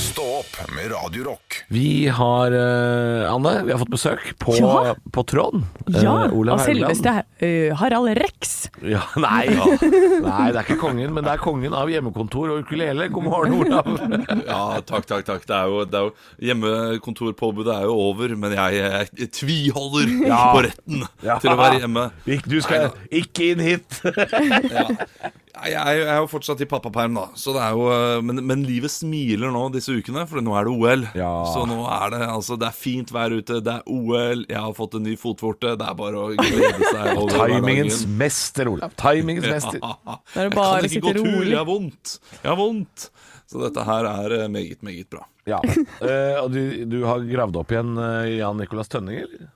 A: Stå opp med Radio Rock.
C: Vi har, eh, Anne, vi har fått besøk på,
B: Ja.
C: på Trond.
B: ja.
C: Eh, Olav
B: Og
C: Haugland.
B: selveste eh, Harald Rex.
C: Ja, (laughs) nei. nei, det er ikke kongen, men det er kongen av hjemmekontor og ukulele. God morgen, Olav.
L: Ja, takk, takk, takk. Det er jo, det er jo Hjemmekontorpåbudet er jo over, men jeg, jeg, tviholder
C: Ja.
L: på retten
C: Ja.
L: til å være hjemme.
C: (laughs) Ikke- Du skal ikke inn hit.
L: Jeg, jeg, jeg er jo fortsatt i pappaperm, da, så det er jo, eh, men, men livet smiler nå disse ukene, for nå er det OL.
C: Ja.
L: Så nå er det altså Det er fint vær ute, det er OL, jeg har fått en ny fotvorte. Det er bare å glede seg over
C: Timingens
L: hverdagen.
C: mester, Olav. Timingens mester.
B: er det
L: Jeg
B: bare å
L: kan ikke gå
B: sitte
L: tur,
B: rolig.
L: jeg har vondt. Jeg har vondt. Så dette her er eh, meget, meget bra.
C: Ja. Eh, og du, du har gravd opp igjen eh, Jan Nicolas Tønning, eller?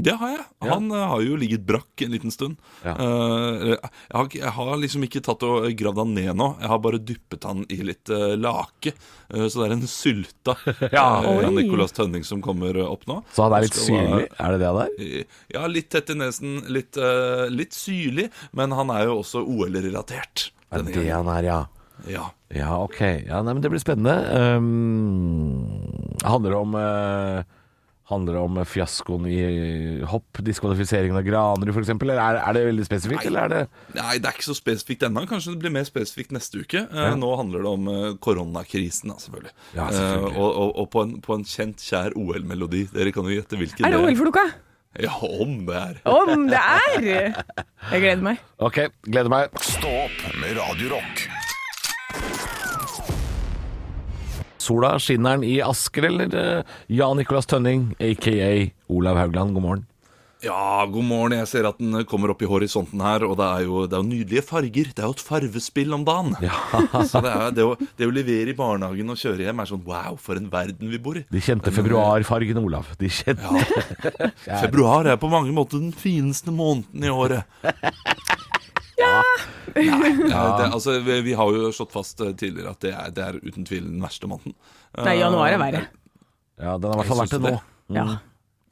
L: Det har jeg. Han eh, har jo ligget brakk en liten stund.
C: Ja.
L: Eh, jeg, har, ikke- jeg har liksom ikke tatt og gravd han ned nå. Jeg har bare dyppet han i litt eh, lake. Eh, så det er en sylta
C: (laughs) Ja.
L: eh,
B: Oi.
L: Nicolas Tønning som kommer eh, opp nå.
C: Så han er litt
L: Skal være-
C: syrlig? Er det det han er?
L: eh, Ja, litt tett i nesen, litt, eh, litt syrlig, men han er jo også OL-relatert.
C: Er
L: denne
C: det
L: gangen.
C: han er, ja.
L: Ja.
C: Ja, ok. Ja, nei, men det blir spennende. Um, handler det om eh, Handler det om fiaskoen i hopp, diskvalifiseringen av Granerud f.eks., eller er, er det veldig spesifikt? Eller er det
L: Nei, det er ikke så spesifikt ennå. Kanskje det blir mer spesifikt neste uke. Eh, Nå handler det om eh, koronakrisen, da, selvfølgelig.
C: Ja, selvfølgelig.
L: Eh, og og, og på, en, på en kjent, kjær OL-melodi. Dere kan jo gjette hvilken
B: Er det OL-floka?
M: Ja, om det er.
B: Om det er! Jeg gleder meg.
C: Ok, gleder meg.
A: Stå opp med Radio Rock.
C: Sola skinner den i Asker, eller eh, Jan Nicolas Tønning, aka Olav Haugland, god morgen.
M: Ja, god morgen. Jeg ser at den kommer opp i horisonten her, og det er jo, det er jo nydelige farger. Det er jo et farvespill om dagen. Så det, er, det, å, det å levere i barnehagen og kjøre hjem er sånn wow, for en verden vi bor i.
C: De kjente februarfargen, Olav. De kjente
M: Februar er på mange måter den fineste måneden i året. Ja, det, altså, vi, vi har jo slått fast eh, tidligere at det er, det er uten tvil den verste måneden. Eh,
B: Nei, januar er verre.
C: (laughs) Ja, den har i hvert fall vært det nå.
B: Ja.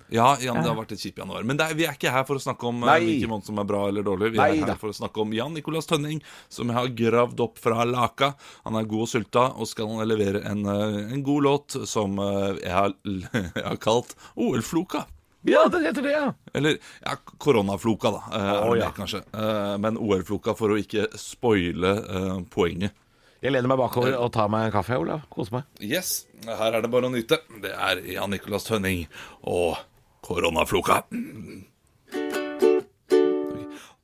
M: Ja, Jan, det har vært et kjipt januar. Men det er, vi er ikke her for å snakke om eh,
C: Nei.
M: hvilken måned som er bra eller dårlig. Vi
C: Nei
M: er her
C: da.
M: for å snakke om Jan Nicolas Tønning, som jeg har gravd opp fra laka. Han er god og sulta, og skal levere en, eh, en god låt som eh, jeg har, (laughs) jeg har kalt OL-floka.
C: Ja, den heter det, ja.
M: Eller ja, koronafloka, da. eh, er
C: Å,
M: det
C: ja.
M: mer, kanskje. Eh, Men OL-floka for å ikke spoile eh, poenget.
C: Jeg lener meg bakover og tar meg en kaffe, Olav. Koser meg.
M: Yes, her er det bare å nyte. Det er Jan Nicolas Tønning og koronafloka.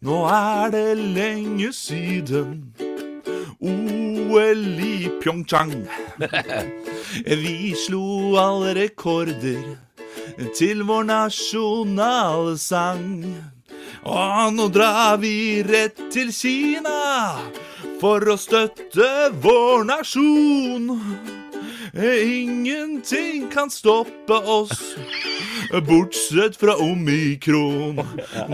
M: Nå er det lenge siden OL i Pyeongchang. Vi slo alle rekorder til vår nasjonalsang. Og nå drar vi rett til Kina for å støtte vår nasjon. Ingenting kan stoppe oss, bortsett fra omikron.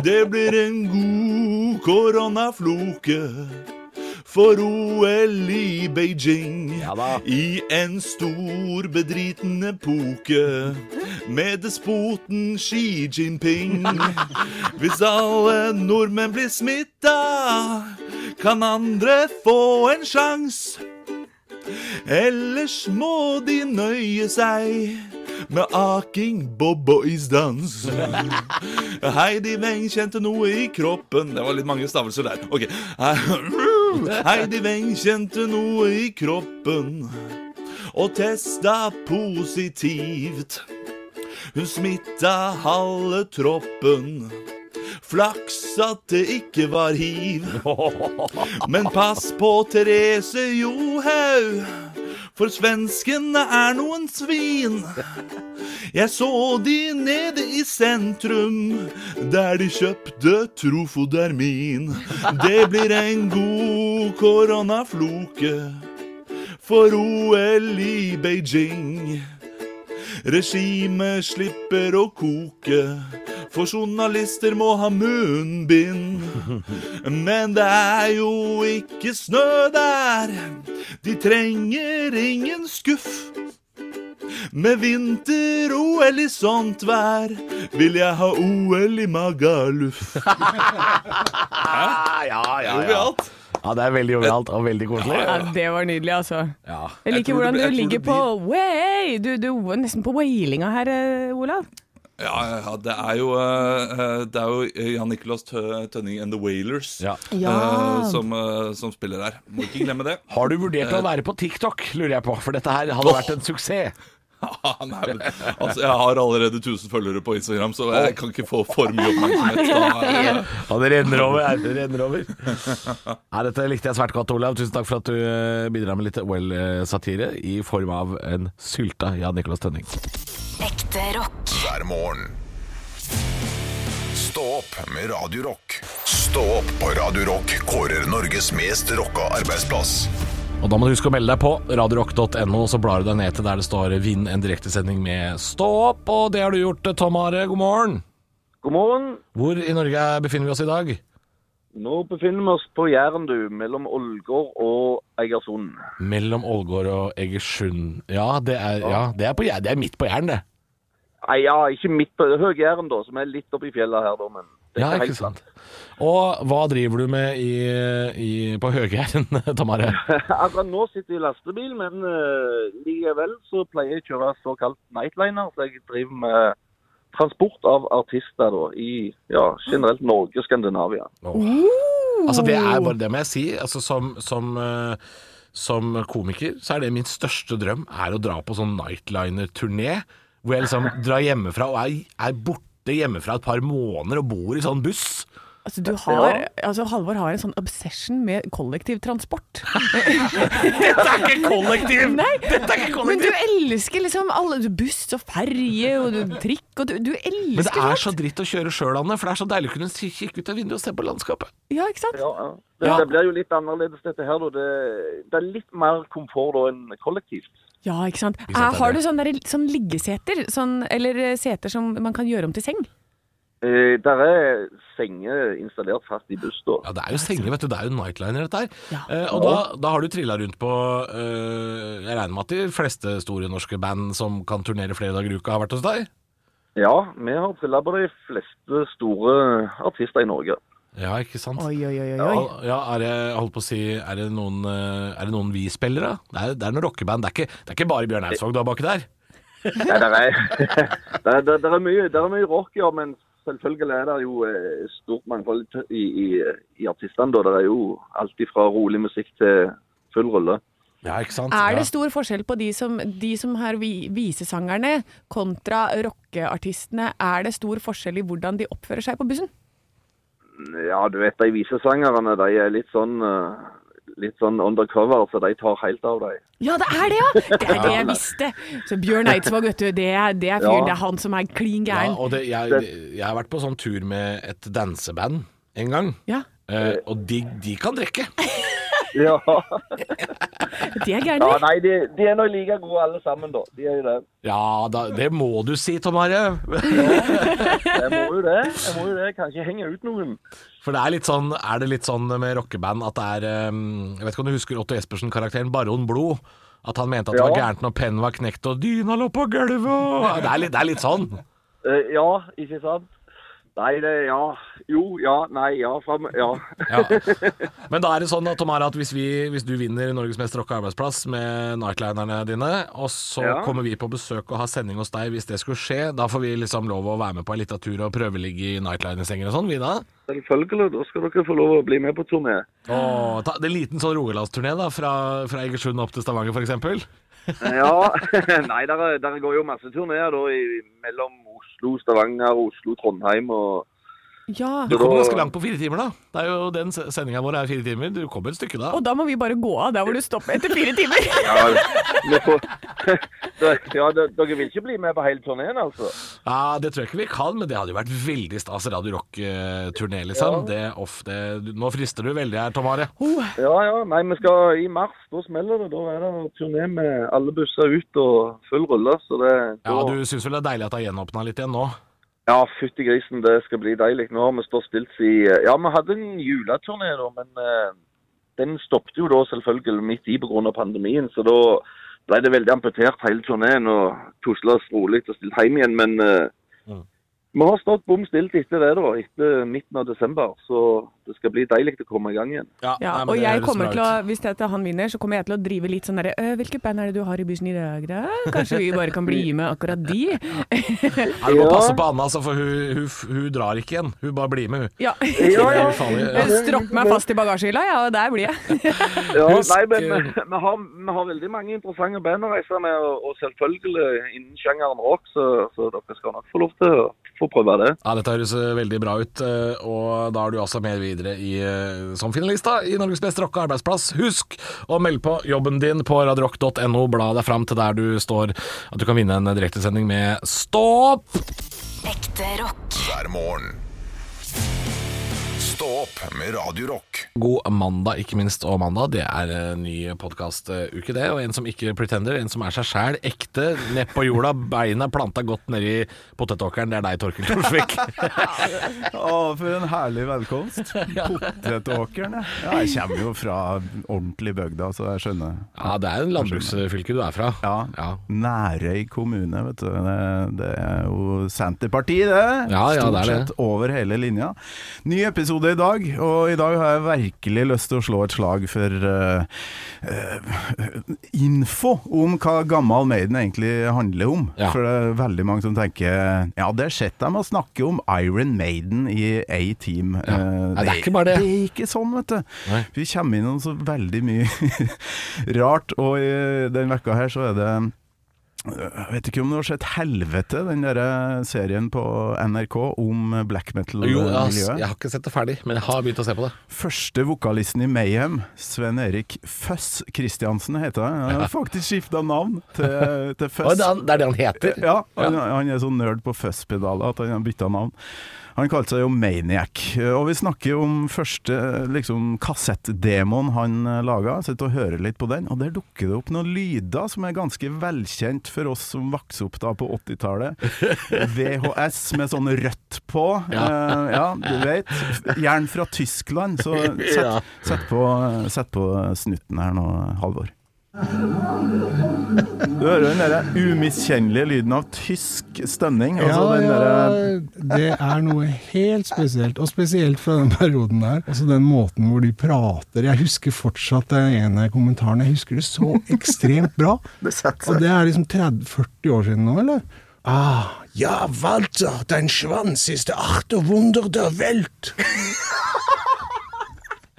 M: Det blir en god koronafloke for OL i Beijing.
C: Ja da.
M: I en stor bedriten epoke med despoten Xi Jinping. Hvis alle nordmenn blir smitta, kan andre få en sjans'. Ellers må de nøye seg med aking, bob og isdans. Heidi Weng kjente noe i kroppen Det var litt mange stavelser der. Ok. (laughs) Heidi Weng kjente noe i kroppen og testa positivt. Hun smitta halve troppen. Flaks at det ikke var hiv. Men pass på Therese Johaug, for svenskene er noen svin. Jeg så de nede i sentrum, der de kjøpte trofodermin. Det blir en god koronafloke for OL i Beijing. Regimet slipper å koke, for journalister må ha munnbind. (laughs) Men det er jo ikke snø der, de trenger ingen skuff. Med vinter-OL i sånt vær vil jeg ha OL i Magaluf.
C: Ah, ja, ja, ja. ja, det er veldig jovialt og veldig koselig.
B: Ja, det var nydelig, altså.
C: Ja.
B: Jeg
M: Jeg
B: liker
M: tror det
B: hvordan du
M: blir- jeg tror
B: ligger
M: det
B: på way! Du, du var nesten på wailinga her, eh, Olav.
M: (laughs) Ja, ja, ja, det er jo, eh, eh, det er jo eh, Jan Nicolas Tø- Tønning and The Wailers
C: Ja.
M: eh, som, eh, som spiller der. Må ikke glemme det.
C: Har du vurdert å være på TikTok, lurer jeg på, for dette her hadde vært en suksess.
M: (laughs) Nei, men, altså, jeg har allerede 1000 følgere på Instagram, så jeg kan ikke få for mye oppmerksomhet. Da, eh,
C: Ja, det renner over. her, Det renner (laughs) over. Nei, dette likte jeg svært godt, Olav. Tusen takk for at du eh, bidrar med litt OL-satire i form av en sylta Jan Nicolas Tønning.
J: Ekte rock.
A: hver morgen. Stå opp med Radio Rock. Stå opp på Radio Rock kårer Norges mest rocka arbeidsplass.
C: Og da må du huske å melde deg på radiorock.no, så blar du deg ned til der det står 'Vinn en direktesending med Stå opp'. Og det har du gjort, eh, Tom Are. God morgen.
N: God morgen.
C: Hvor i Norge befinner vi oss i dag?
N: Nå befinner vi oss på Jæren, du, mellom Ålgård og Egersund.
C: Mellom Ålgård og Egersund. Ja, det er, ja, det er, på, Jæ- det er midt på Jæren, det.
N: Nei, ja, ikke midt på Høg-Jæren, da, som er litt oppi fjellet her, da, men det er
C: Ja, ikke
N: helt
C: sant. Og hva driver du med i, i, på Høgjæren, (laughs) Tamare?
N: Akkurat nå sitter jeg i lastebil, men eh, likevel så pleier jeg å kjøre såkalt nightliner. Så jeg driver med transport av artister da, i ja, generelt Norge og Skandinavia.
C: Altså, det er bare det må jeg si. Altså, som, som, eh, som komiker så er det min største drøm er å dra på sånn nightliner-turné. Hvor jeg liksom drar hjemmefra og er, er borte borte hjemmefra et par måneder og bor i sånn buss.
B: Altså, du har, altså, Halvor har en sånn obsession med (laughs) kollektivtransport. Dette
C: er ikke kollektiv!
B: Nei,
C: Dette er ikke
B: Men
C: kollektiv!
B: du elsker liksom alle du, buss og ferje og du, trikk og du, du elsker
C: Men det er så dritt å kjøre sjøl, Anne, for det er så deilig å kunne kikke ut av vinduet og se på landskapet.
B: Ja, ikke sant?
N: Ja, ja. Det, det blir jo litt annerledes dette her. da. Det, det er litt mer komfort da enn kollektivt.
B: Ja, ikke sant.
N: Ikke sant,
B: Eh, har du sånne, der, sånn liggeseter? Sånn, eller eh, seter som man kan gjøre om til seng?
N: Eh, der er senger installert fast i buss da.
C: Ja, det er jo senger, vet du. Det er jo nightliner, dette her. Eh, og da, da har du trilla rundt på eh, Jeg regner med at de fleste store norske band som kan turnere flere dager i uka, har vært hos deg?
N: Ja, vi har trilla på de fleste store artister i Norge.
C: Ja, ikke sant?
B: Oi, oi, oi,
C: Ja, ja, er det, jeg holdt på å si, er det noen, eh, er det noen vi-spillere? Det er, det er noen rockeband. Det er ikke, det er ikke bare Bjørn Eidsvåg du har baki der?
N: Nei, der er, (laughs) der, er- der, er mye, der er mye rock, ja, men selvfølgelig er det jo eh, stort mangfold i, i, i artistene. da. Det er jo alt fra rolig musikk til full rulle.
C: Ja, ikke sant?
B: Er det stor forskjell på de som, de som har vi, visesangerne kontra rockeartistene? Er det stor forskjell i hvordan de oppfører seg på bussen?
N: Ja, du vet, de visesangerne de er litt sånn, eh, litt sånn undercover, så de tar helt av deg.
B: Ja, det er det, ja! Det er det jeg visste. Så Bjørn Eidsvåg, vet du, det er, det er fyren.
C: Ja.
B: Det er han som er klin
C: Ja,
B: gæren.
C: og det, jeg, jeg har vært på sånn tur med et danseband en gang. Eh, og de, de kan drikke.
N: Ja.
B: De er
N: ja nei, de, de er nå like gode alle sammen, da. De er jo det.
C: Ja, da, det må du si, Tom Are.
N: Jeg må jo det. Jeg må jo det. Kan ikke henge ut noen.
C: For det er litt sånn, er det litt sånn med rockeband at det er eh, Jeg vet ikke om du husker Otto Espersen-karakteren Baron Blod? At han mente at det var
N: Ja.
C: gærent når pennen var knekt og dyna lå på gulvet og- det, er litt- det er litt sånn.
N: Eh, ja, ikke sant? Nei, det Ja. Jo, ja, nei, ja. Fram, ja.
C: Ja. Men da er det sånn at, Tom Are, at hvis, vi, hvis du vinner Norges mest rocka arbeidsplass med nightlinerne dine, og så
N: Ja.
C: kommer vi på besøk og har sending hos deg hvis det skulle skje, da får vi liksom lov å være med på en liten tur og prøveligge i nightlinersenger og sånn, vi da?
N: Selvfølgelig. Da skal dere få lov å bli med på turné.
C: Og ta, det er en liten sånn Rogalandsturné da, fra, fra Egersund opp til Stavanger for eksempel.
N: (laughs) Ja. Nei, der, er- der går jo masse turneer da i, mellom Oslo, Stavanger, Oslo, Trondheim og
B: Ja.
C: Du kommer ganske langt på fire timer da. Det er jo den sendinga vår er fire timer, du kommer et stykke da.
B: Og da må vi bare gå av der hvor du stopper etter fire
C: (laughs)
B: timer.
N: Ja, (laughs) vi får, (laughs) ja d- dere vil ikke bli med på hele turneen, altså?
C: Ja, Det tror jeg ikke vi kan, men det hadde jo vært veldig stas Radio Rock-turné, liksom. Det, off, det, du- nå frister du veldig her, Tom Are.
N: Ja, ja. Nei, vi skal i mars. Da smeller det. Da er det turné med alle busser ut og full rulle. Så det
C: Ja, du syns vel det er deilig at det er gjenåpna litt igjen nå?
N: Ja, fytti grisen, det skal bli deilig. Nå har vi stått stilt i eh, Ja, vi hadde en juleturné, da, men eh, den stoppet jo da selvfølgelig midt i pga. pandemien. Så da ble det veldig amputert hele turneen og tusla oss rolig og stilt hjem igjen. Men eh, vi har stått bom stilt etter det, da. Etter midten av desember. Så det skal bli deilig å komme i gang igjen.
B: Ja, og jeg kommer til å, hvis dette han vinner, så kommer jeg til å drive litt sånn derre «Øh, Hvilket band er det du har i bussen i dag, da? Kanskje vi bare kan bli med akkurat de? (laughs)
C: Ja, du må passe på Anna, altså, for hun, hun, hun drar ikke igjen. Hun bare blir med, hun.
B: Ja.
C: ja. Ja.
B: Stropp meg fast i bagasjehylla, ja, og der blir jeg.
N: Ja,
C: Husk,
N: nei, men
C: eh,
N: vi, vi, har, vi har veldig mange interessante band å reise med, og, og selvfølgelig innen sjangeren rock, så, så dere skal nok få lov til å få prøve det.
C: Ja, Dette høres eh, veldig bra ut, eh, og da er du altså med videre i, eh, som finalist da, i Norges beste rocka arbeidsplass. Husk å melde på jobben din på radiorock.no. Bla deg fram til der du står, at du kan vinne en direktesending med Stå opp!
D: Ekte rock.
A: hver morgen. Stå opp med Radio Rock.
C: God mandag, ikke minst, og mandag. Det er en ny podkastuke, det. Og en som ikke pretender, en som er seg sjæl, ekte, ned på jorda, (laughs) beina planta godt nedi potetåkeren. Det er deg, Torkel Torsvik.
O: (laughs) Å, for en herlig
C: (laughs)
O: velkomst. Potetåkeren, ja. ja. Jeg kommer jo fra ordentlig bygda, så jeg skjønner.
C: Ja, det er en landbruksfylke du er fra.
O: Ja. Nærøy kommune, vet du. Det, det er jo Senterpartiet, det.
C: Ja, ja, det
O: Stort
C: er det.
O: sett over hele linja. Ny episode i dag, og i dag har jeg virkelig lyst til å slå et slag for eh, eh, info om hva Gammal Maiden egentlig handler om. For det er veldig mange som tenker Ja, det er sett dem å snakke om Iron Maiden i A-Team. Eh,
C: Nei, det er ikke bare det.
O: Det er ikke sånn, vet du.
C: Nei.
O: Vi kommer innom så veldig mye rart, og i den vekka her så er det Jeg vet ikke om du har sett Helvete, den der serien på NRK om black
C: Jo, jeg har,
O: metal-miljøet?
C: jeg har ikke sett det ferdig, men jeg har begynt å se på det.
O: Første vokalisten i Mayhem, Sven-Erik Føss Christiansen, heter han. Han har faktisk skifta navn til, til Føss.
C: Å, det er han- det er det han heter?
O: Ja, han,
C: Ja.
O: han er så nerd på Føss-pedaler at han har bytta navn. Han kalte seg jo Maniac, og vi snakker om første liksom, kassettdemoen han laga. Sitter og hører litt på den, og der dukker det opp noen lyder som er ganske velkjent for oss som vokste opp da på 80-tallet. VHS med sånn rødt på. Ja, ja du vet. Jern fra Tyskland, så
C: Ja.
O: sett, sett, på, sett på snutten her nå, Halvor. Du hører den der umiskjennelige lyden av tysk stønning. Altså den derre-
P: det er noe helt spesielt, og spesielt fra den perioden der. Altså den måten hvor de prater. Jeg husker fortsatt den ene kommentaren. Jeg husker det så ekstremt bra. Og (laughs) det er liksom 30-40 år siden nå, eller?
Q: Ah, ja, Walter, dein Schwanz ist der achte Wunder der Welt.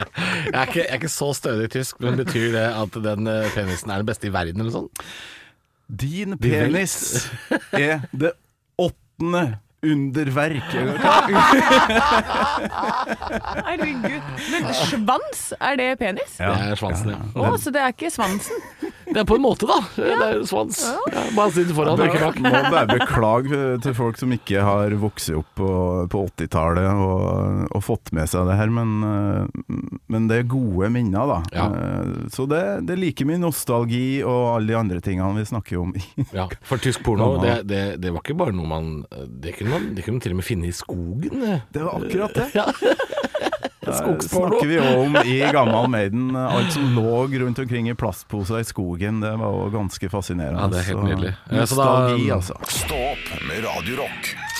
C: Jeg er ikke, jeg er ikke så stødig i tysk, men betyr det at den eh, penisen er den beste i verden, eller noe sånt?
O: Din
C: De vel-
O: penis er det åttende underverk.
B: Herregud. Men svans, er det penis?
C: Det er svansen, ja.
B: Å, så det er ikke svansen?
C: Det er på en måte, da. Det er svans. Ja, bare sitt foran, og ikke
O: Må bare
C: bak.
O: beklage til folk som ikke har vokst opp på, på 80-tallet og, og fått med seg det her, men, eh, men det er gode minner, da. Eh, Så det, det er like mye nostalgi og alle de andre tingene vi snakker om.
C: Ja, for tysk porno, det, det, det var ikke bare noe man Det kunne man, det kunne man til og med finne i skogen. eh.
O: Det var akkurat
C: (laughs)
O: det. Der
C: Skogsporno.
O: snakker vi jo om i Gammal Maiden. eh, Alt som lå rundt omkring i plastposer i skogen, det var jo ganske fascinerende.
C: Ja, det er helt
O: Så
C: nydelig. Eh, så da-
O: Nostalgi, altså.
A: Stå opp med Radio Rock.